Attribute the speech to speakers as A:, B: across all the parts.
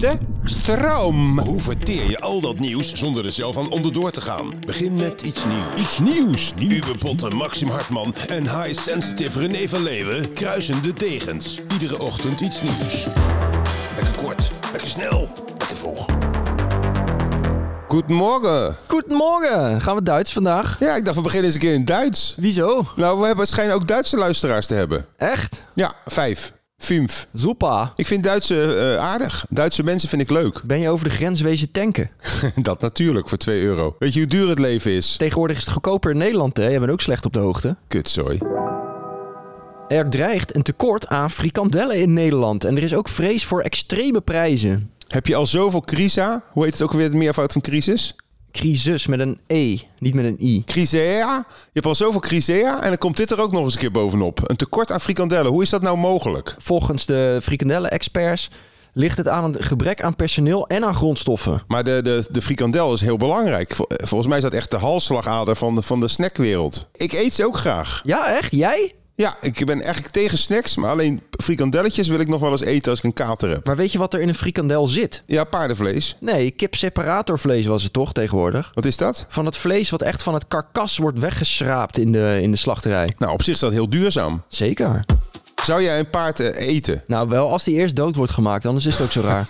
A: De stroom.
B: Hoe verteer je al dat nieuws zonder er zelf aan onderdoor te gaan? Begin met iets nieuws.
A: Iets nieuws.
B: Uwe Potten, Maxim Hartman en high-sensitive René van Leeuwen kruisen de degens. Iedere ochtend iets nieuws. Lekker kort, lekker snel, lekker vroeg.
A: Goedemorgen.
C: Goedemorgen! Gaan we Duits vandaag?
A: Ja, ik dacht we beginnen eens een keer in Duits.
C: Wieso?
A: Nou, we hebben schijnen ook Duitse luisteraars te hebben.
C: Echt?
A: Ja, vijf. Vijf.
C: Super.
A: Ik vind Duitse eh, aardig. Duitse mensen vind ik leuk.
C: Ben je over de grens wezen tanken?
A: Dat natuurlijk voor 2 euro. Weet je hoe duur het leven is?
C: Tegenwoordig is het goedkoper in Nederland, hè? Jij bent ook slecht op de hoogte.
A: Kutzooi.
C: Er dreigt een tekort aan frikandellen in Nederland. En er is ook vrees voor extreme prijzen.
A: Heb je al zoveel crisa? Hoe heet het ook weer het meervoud van crisis?
C: Crisis met een E, niet met een I.
A: Crisea. Je hebt al zoveel crisea en dan komt dit er ook nog eens een keer bovenop. Een tekort aan frikandellen. Hoe is dat nou mogelijk?
C: Volgens de frikandellen-experts ligt het aan een gebrek aan personeel en aan grondstoffen.
A: Maar de, de, de frikandel is heel belangrijk. Vol- volgens mij is dat echt de halsslagader van de, van de snackwereld. Ik eet ze ook graag.
C: Ja, echt? Jij?
A: Ja, ik ben eigenlijk tegen snacks, maar alleen frikandelletjes wil ik nog wel eens eten als ik een kater heb.
C: Maar weet je wat er in een frikandel zit?
A: Ja, paardenvlees.
C: Nee, kipseparatorvlees was het toch tegenwoordig?
A: Wat is dat?
C: van het vlees wat echt van het karkas wordt weggeschraapt in de, in de slachterij.
A: Nou, op zich is dat heel duurzaam.
C: Zeker.
A: Zou jij een paard eh, eten?
C: Nou, wel als die eerst dood wordt gemaakt, anders is het ook zo raar.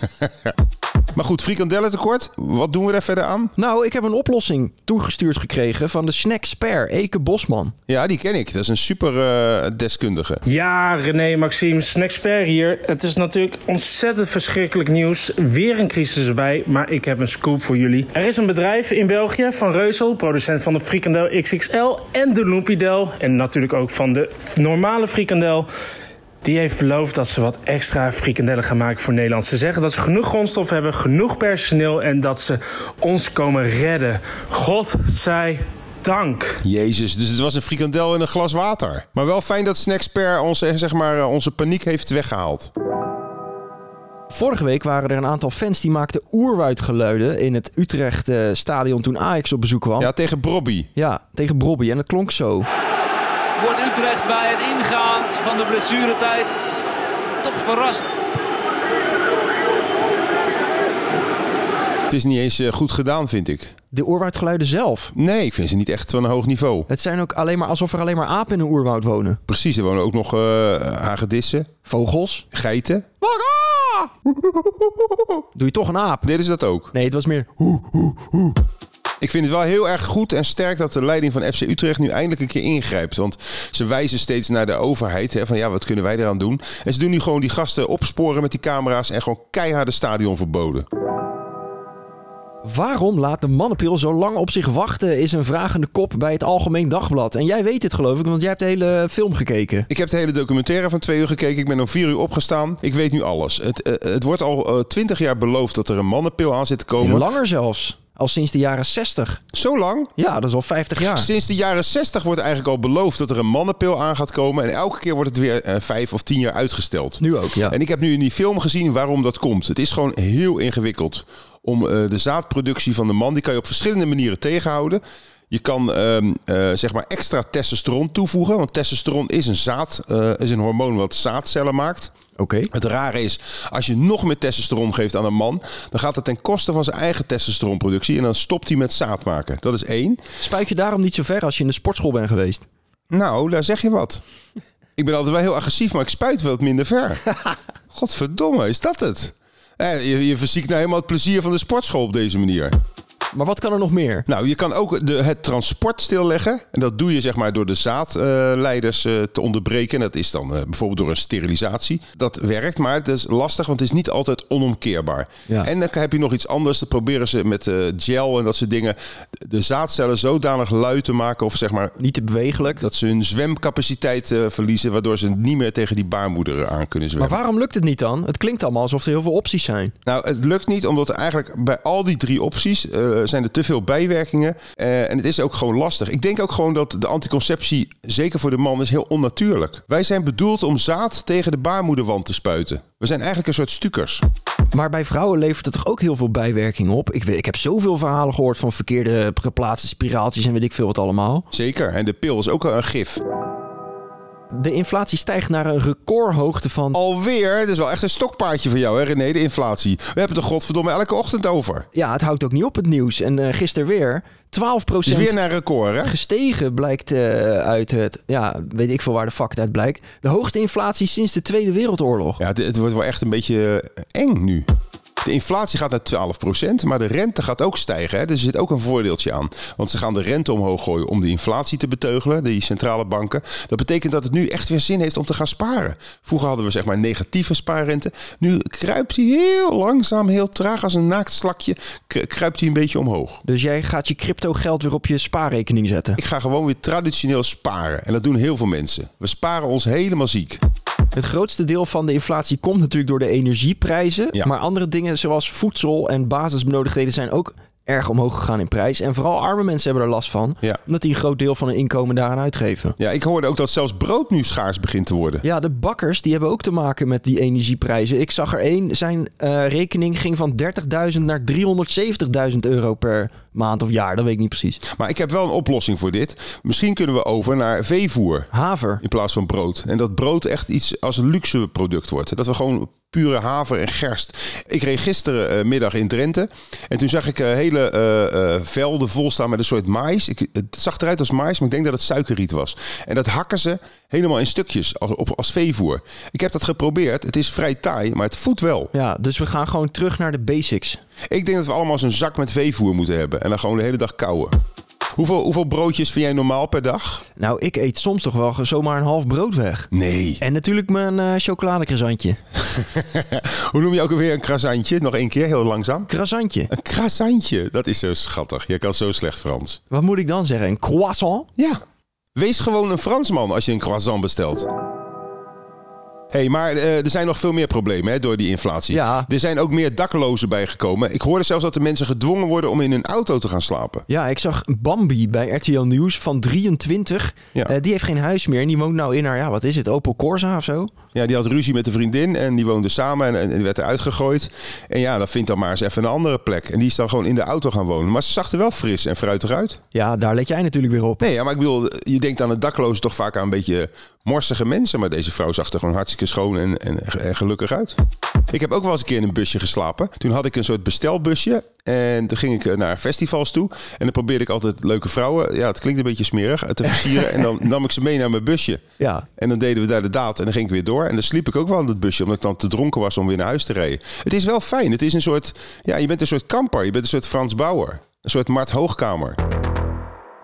A: Maar goed, frikandellentekort. Wat doen we daar verder aan?
C: nou, ik heb een oplossing toegestuurd gekregen van de snacksper Eke Bosman.
A: Ja, die ken ik. Dat is een super eh, deskundige.
D: Ja, René, Maxime, Snacksper hier. Het is natuurlijk ontzettend verschrikkelijk nieuws. Weer een crisis erbij, maar ik heb een scoop voor jullie. Er is een bedrijf in België, Van Reuzel, producent van de frikandel XXL en de Loempidel. En natuurlijk ook van de f- normale frikandel. Die heeft beloofd dat ze wat extra frikandellen gaan maken voor Nederland. Ze zeggen dat ze genoeg grondstof hebben, genoeg personeel en dat ze ons komen redden. God zij dank.
A: Jezus, dus het was een frikandel in een glas water. Maar wel fijn dat Snacksper ons, eh, zeg maar, eh, onze paniek heeft weggehaald.
C: Vorige week waren er een aantal fans die maakten oerwoudgeluiden in het Utrecht eh, stadion toen Ajax op bezoek kwam.
A: Ja, tegen Brobby.
C: Ja, tegen Brobby. En het klonk zo.
E: wordt Utrecht bij het ingaan van de blessuretijd toch verrast.
A: Het is niet eens eh, goed gedaan, vind ik.
C: De oerwoudgeluiden zelf.
A: Nee, ik vind ze niet echt van een hoog niveau.
C: Het zijn ook alleen maar alsof er alleen maar apen in een oerwoud wonen.
A: Precies, er wonen ook nog eh hagedissen,
C: Vogels.
A: geiten.
C: Doe je toch een aap?
A: Deden ze dat ook?
C: Nee, het was meer
A: Ik vind het wel heel erg goed en sterk dat de leiding van FC Utrecht nu eindelijk een keer ingrijpt. Want ze wijzen steeds naar de overheid. Hè, van ja, wat kunnen wij eraan doen? En ze doen nu gewoon die gasten opsporen met die camera's en gewoon keiharde stadion verboden.
C: Waarom laat de mannenpil zo lang op zich wachten, is een vragende kop bij het Algemeen Dagblad. En jij weet dit geloof ik, want jij hebt de hele film gekeken.
A: Ik heb de hele documentaire van twee uur gekeken. Ik ben om vier uur opgestaan. Ik weet nu alles. Het, eh, het wordt al twintig jaar beloofd dat er een mannenpil aan zit te komen.
C: Langer zelfs, al sinds de jaren 60.
A: Zo lang?
C: Ja, dat is al 50 jaar.
A: Sinds de jaren 60 wordt eigenlijk al beloofd dat er een mannenpil aan gaat komen. En elke keer wordt het weer eh, vijf of tien jaar uitgesteld.
C: Nu ook, ja.
A: En ik heb nu in die film gezien waarom dat komt. Het is gewoon heel ingewikkeld. Om eh, de zaadproductie van de man, die kan je op verschillende manieren tegenhouden. Je kan ehm, eh, zeg maar extra testosteron toevoegen. Want testosteron is een, zaad, eh, is een hormoon wat zaadcellen maakt.
C: Oké.
A: Het rare is, als je nog meer testosteron geeft aan een man, dan gaat dat ten koste van zijn eigen testosteronproductie. En dan stopt hij met zaad maken. Dat is één.
C: Spuit je daarom niet zo ver als je in de sportschool bent geweest.
A: Nou, daar zeg je wat. Ik ben altijd wel heel agressief, maar ik spuit wel wat minder ver. Godverdomme, is dat het? Eh, je, je verziekt nou helemaal het plezier van de sportschool op deze manier.
C: Maar wat kan er nog meer?
A: Nou, je kan ook de, het transport stilleggen. En dat doe je zeg maar door de zaadleiders eh, te onderbreken. En dat is dan eh, bijvoorbeeld door een sterilisatie. Dat werkt, maar het is lastig, want het is niet altijd onomkeerbaar.
C: Ja.
A: En dan heb je nog iets anders. Dan proberen ze met eh, gel en dat soort dingen de zaadcellen zodanig lui te maken of zeg maar
C: Niet te bewegelijk.
A: dat ze hun zwemcapaciteit eh, verliezen, waardoor ze niet meer tegen die baarmoeder eh, aan kunnen
C: Maar
A: zwemmen.
C: waarom lukt het niet dan? Het klinkt allemaal alsof er heel veel opties zijn.
A: Nou, het lukt niet, omdat er eigenlijk bij al die drie opties eh, zijn er te veel bijwerkingen. Eh, en het is ook gewoon lastig. Ik denk ook gewoon dat de anticonceptie, zeker voor de man, is heel onnatuurlijk. Wij zijn bedoeld om zaad tegen de baarmoederwand te spuiten. We zijn eigenlijk een soort stukers.
C: Maar bij vrouwen levert het toch ook heel veel bijwerkingen op? Ik, weet, ik heb zoveel verhalen gehoord van verkeerde geplaatste spiraaltjes en weet ik veel wat allemaal.
A: Zeker. En de pil is ook een gif.
C: De inflatie stijgt naar een recordhoogte van...
A: Alweer, dat is wel echt een stokpaardje van jou, hè René, de inflatie. We hebben het er godverdomme elke ochtend over.
C: Ja, het houdt ook niet op het nieuws. En eh gisteren weer 12
A: Dus weer naar record, hè?
C: gestegen blijkt eh, uit het... Ja, weet ik veel waar de fuck het uit blijkt. De hoogste inflatie sinds de Tweede Wereldoorlog.
A: Ja, het, het wordt wel echt een beetje eh, eng nu. De inflatie gaat naar 12%, maar de rente gaat ook stijgen. Hè? Dus er zit ook een voordeeltje aan. Want ze gaan de rente omhoog gooien om de inflatie te beteugelen, die centrale banken. Dat betekent dat het nu echt weer zin heeft om te gaan sparen. Vroeger hadden we zeg maar negatieve spaarrente. Nu kruipt hij heel langzaam, heel traag als een naakt slakje, kru- kruipt hij een beetje omhoog.
C: Dus jij gaat je crypto geld weer op je spaarrekening zetten.
A: Ik ga gewoon weer traditioneel sparen. En dat doen heel veel mensen. We sparen ons helemaal ziek.
C: Het grootste deel van de inflatie komt natuurlijk door de energieprijzen.
A: Ja.
C: Maar andere dingen zoals voedsel en basisbenodigdheden zijn ook erg omhoog gegaan in prijs. En vooral arme mensen hebben er last van.
A: Ja.
C: Omdat die een groot deel van hun inkomen daaraan uitgeven.
A: Ja, ik hoorde ook dat zelfs brood nu schaars begint te worden.
C: Ja, de bakkers die hebben ook te maken met die energieprijzen. Ik zag er één, zijn eh, rekening ging van 30.000 naar 370.000 euro per maand of jaar. Dat weet ik niet precies.
A: Maar ik heb wel een oplossing voor dit. Misschien kunnen we over naar veevoer
C: Haver.
A: in plaats van brood. En dat brood echt iets als een luxe product wordt. Dat we gewoon pure haver en gerst. Ik reed gisterenmiddag in Drenthe. En toen zag ik eh, hele eh, eh, velden vol staan met een soort maïs. Ik, het zag eruit als maïs, maar ik denk dat het suikerriet was. En dat hakken ze helemaal in stukjes als, op, als veevoer. Ik heb dat geprobeerd. Het is vrij taai, maar het voedt wel.
C: Ja, dus we gaan gewoon terug naar de basics.
A: Ik denk dat we allemaal zo'n zak met veevoer moeten hebben. En dan gewoon de hele dag kauwen. Hoeveel, hoeveel broodjes vind jij normaal per dag?
C: Nou, ik eet soms toch wel zomaar een half brood weg.
A: Nee.
C: En natuurlijk mijn eh chocoladecroissantje.
A: Hoe noem je ook alweer een krasantje? Nog één keer, heel langzaam.
C: Croissantje.
A: Een krasantje, dat is zo schattig. Jij kan zo slecht Frans.
C: Wat moet ik dan zeggen? Een croissant?
A: Ja, wees gewoon een Fransman als je een croissant bestelt. hey, maar eh, er zijn nog veel meer problemen hè, door die inflatie.
C: Ja.
A: Er zijn ook meer daklozen bijgekomen. Ik hoorde zelfs dat de mensen gedwongen worden om in hun auto te gaan slapen.
C: Ja, ik zag Bambi bij RTL Nieuws van 23.
A: Ja.
C: Eh, die heeft geen huis meer en die woont nou in haar, ja, wat is het, Opel Corsa of zo?
A: Ja, die had ruzie met een vriendin en die woonden samen en, en die werd eruit gegooid. En ja, dan vindt dan maar eens even een andere plek. En die is dan gewoon in de auto gaan wonen. Maar ze zag er wel fris en fruitig uit.
C: Ja, daar let jij natuurlijk weer op.
A: Nee, ja, maar ik bedoel, je denkt aan de daklozen toch vaak aan een beetje morsige mensen. Maar deze vrouw zag er gewoon hartstikke schoon en, en, en gelukkig uit. Ik heb ook wel eens een keer in een busje geslapen. Toen had ik een soort bestelbusje. En toen ging ik eh, naar festivals toe. En dan probeerde ik altijd leuke vrouwen, ja, het klinkt een beetje smerig, te versieren. En dan nam ik ze mee naar mijn busje.
C: Ja.
A: En dan deden we daar de daad en dan ging ik weer door. En dan sliep ik ook wel in dat busje, omdat ik dan te dronken was om weer naar huis te rijden. Het is wel fijn. Het is een soort, ja, je bent een soort kamper. Je bent een soort Frans Bauer. Een soort Mart Hoogkamer.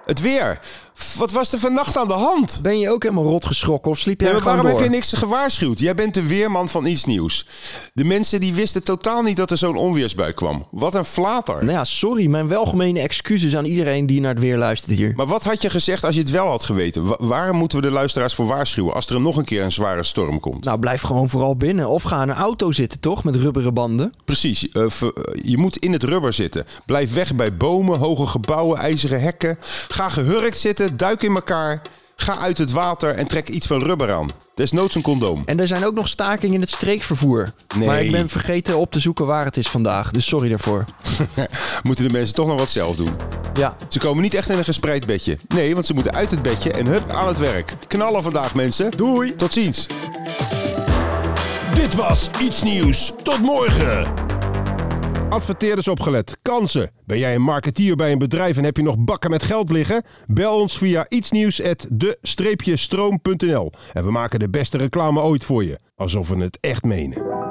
A: Het weer. F- Wat was er vannacht aan de hand?
C: Ben je ook helemaal rot geschrokken of sliep jij
A: Ja, maar
C: gewoon
A: waarom heb
C: door?
A: je niks gewaarschuwd? Jij bent de weerman van iets nieuws. De mensen die wisten totaal niet dat er zo'n onweersbui kwam. Wat een flater.
C: Nou ja, sorry, mijn welgemene excuses aan iedereen die naar het weer luistert hier.
A: Maar wat had je gezegd als je het wel had geweten? Wa- waar moeten we de luisteraars voor waarschuwen als er nog een keer een zware storm komt?
C: Nou, blijf gewoon vooral binnen of ga in een auto zitten, toch? Met rubberen banden.
A: Precies. eh, ver- eh, je moet in het rubber zitten. Blijf weg bij bomen, hoge gebouwen, ijzeren hekken. Ga gehurkt zitten, duik in elkaar. Ga uit het water en trek iets van rubber aan. Desnoods een condoom.
C: En er zijn ook nog stakingen in het streekvervoer.
A: Nee.
C: Maar ik ben vergeten op te zoeken waar het is vandaag, dus sorry daarvoor.
A: Moeten de mensen toch nog wat zelf doen?
C: Ja,
A: Ze komen niet echt in een gespreid bedje. Nee, want ze moeten uit het bedje en hup aan het werk. Knallen vandaag, mensen.
C: Doei.
A: Tot ziens.
B: Dit was Iets Nieuws. Tot morgen.
A: Adverteerders opgelet. Kansen. Ben jij een marketeer bij een bedrijf en heb je nog bakken met geld liggen? Bel ons via ietsnieuws@de-stroom.nl en we maken de beste reclame ooit voor je. Alsof we het echt menen.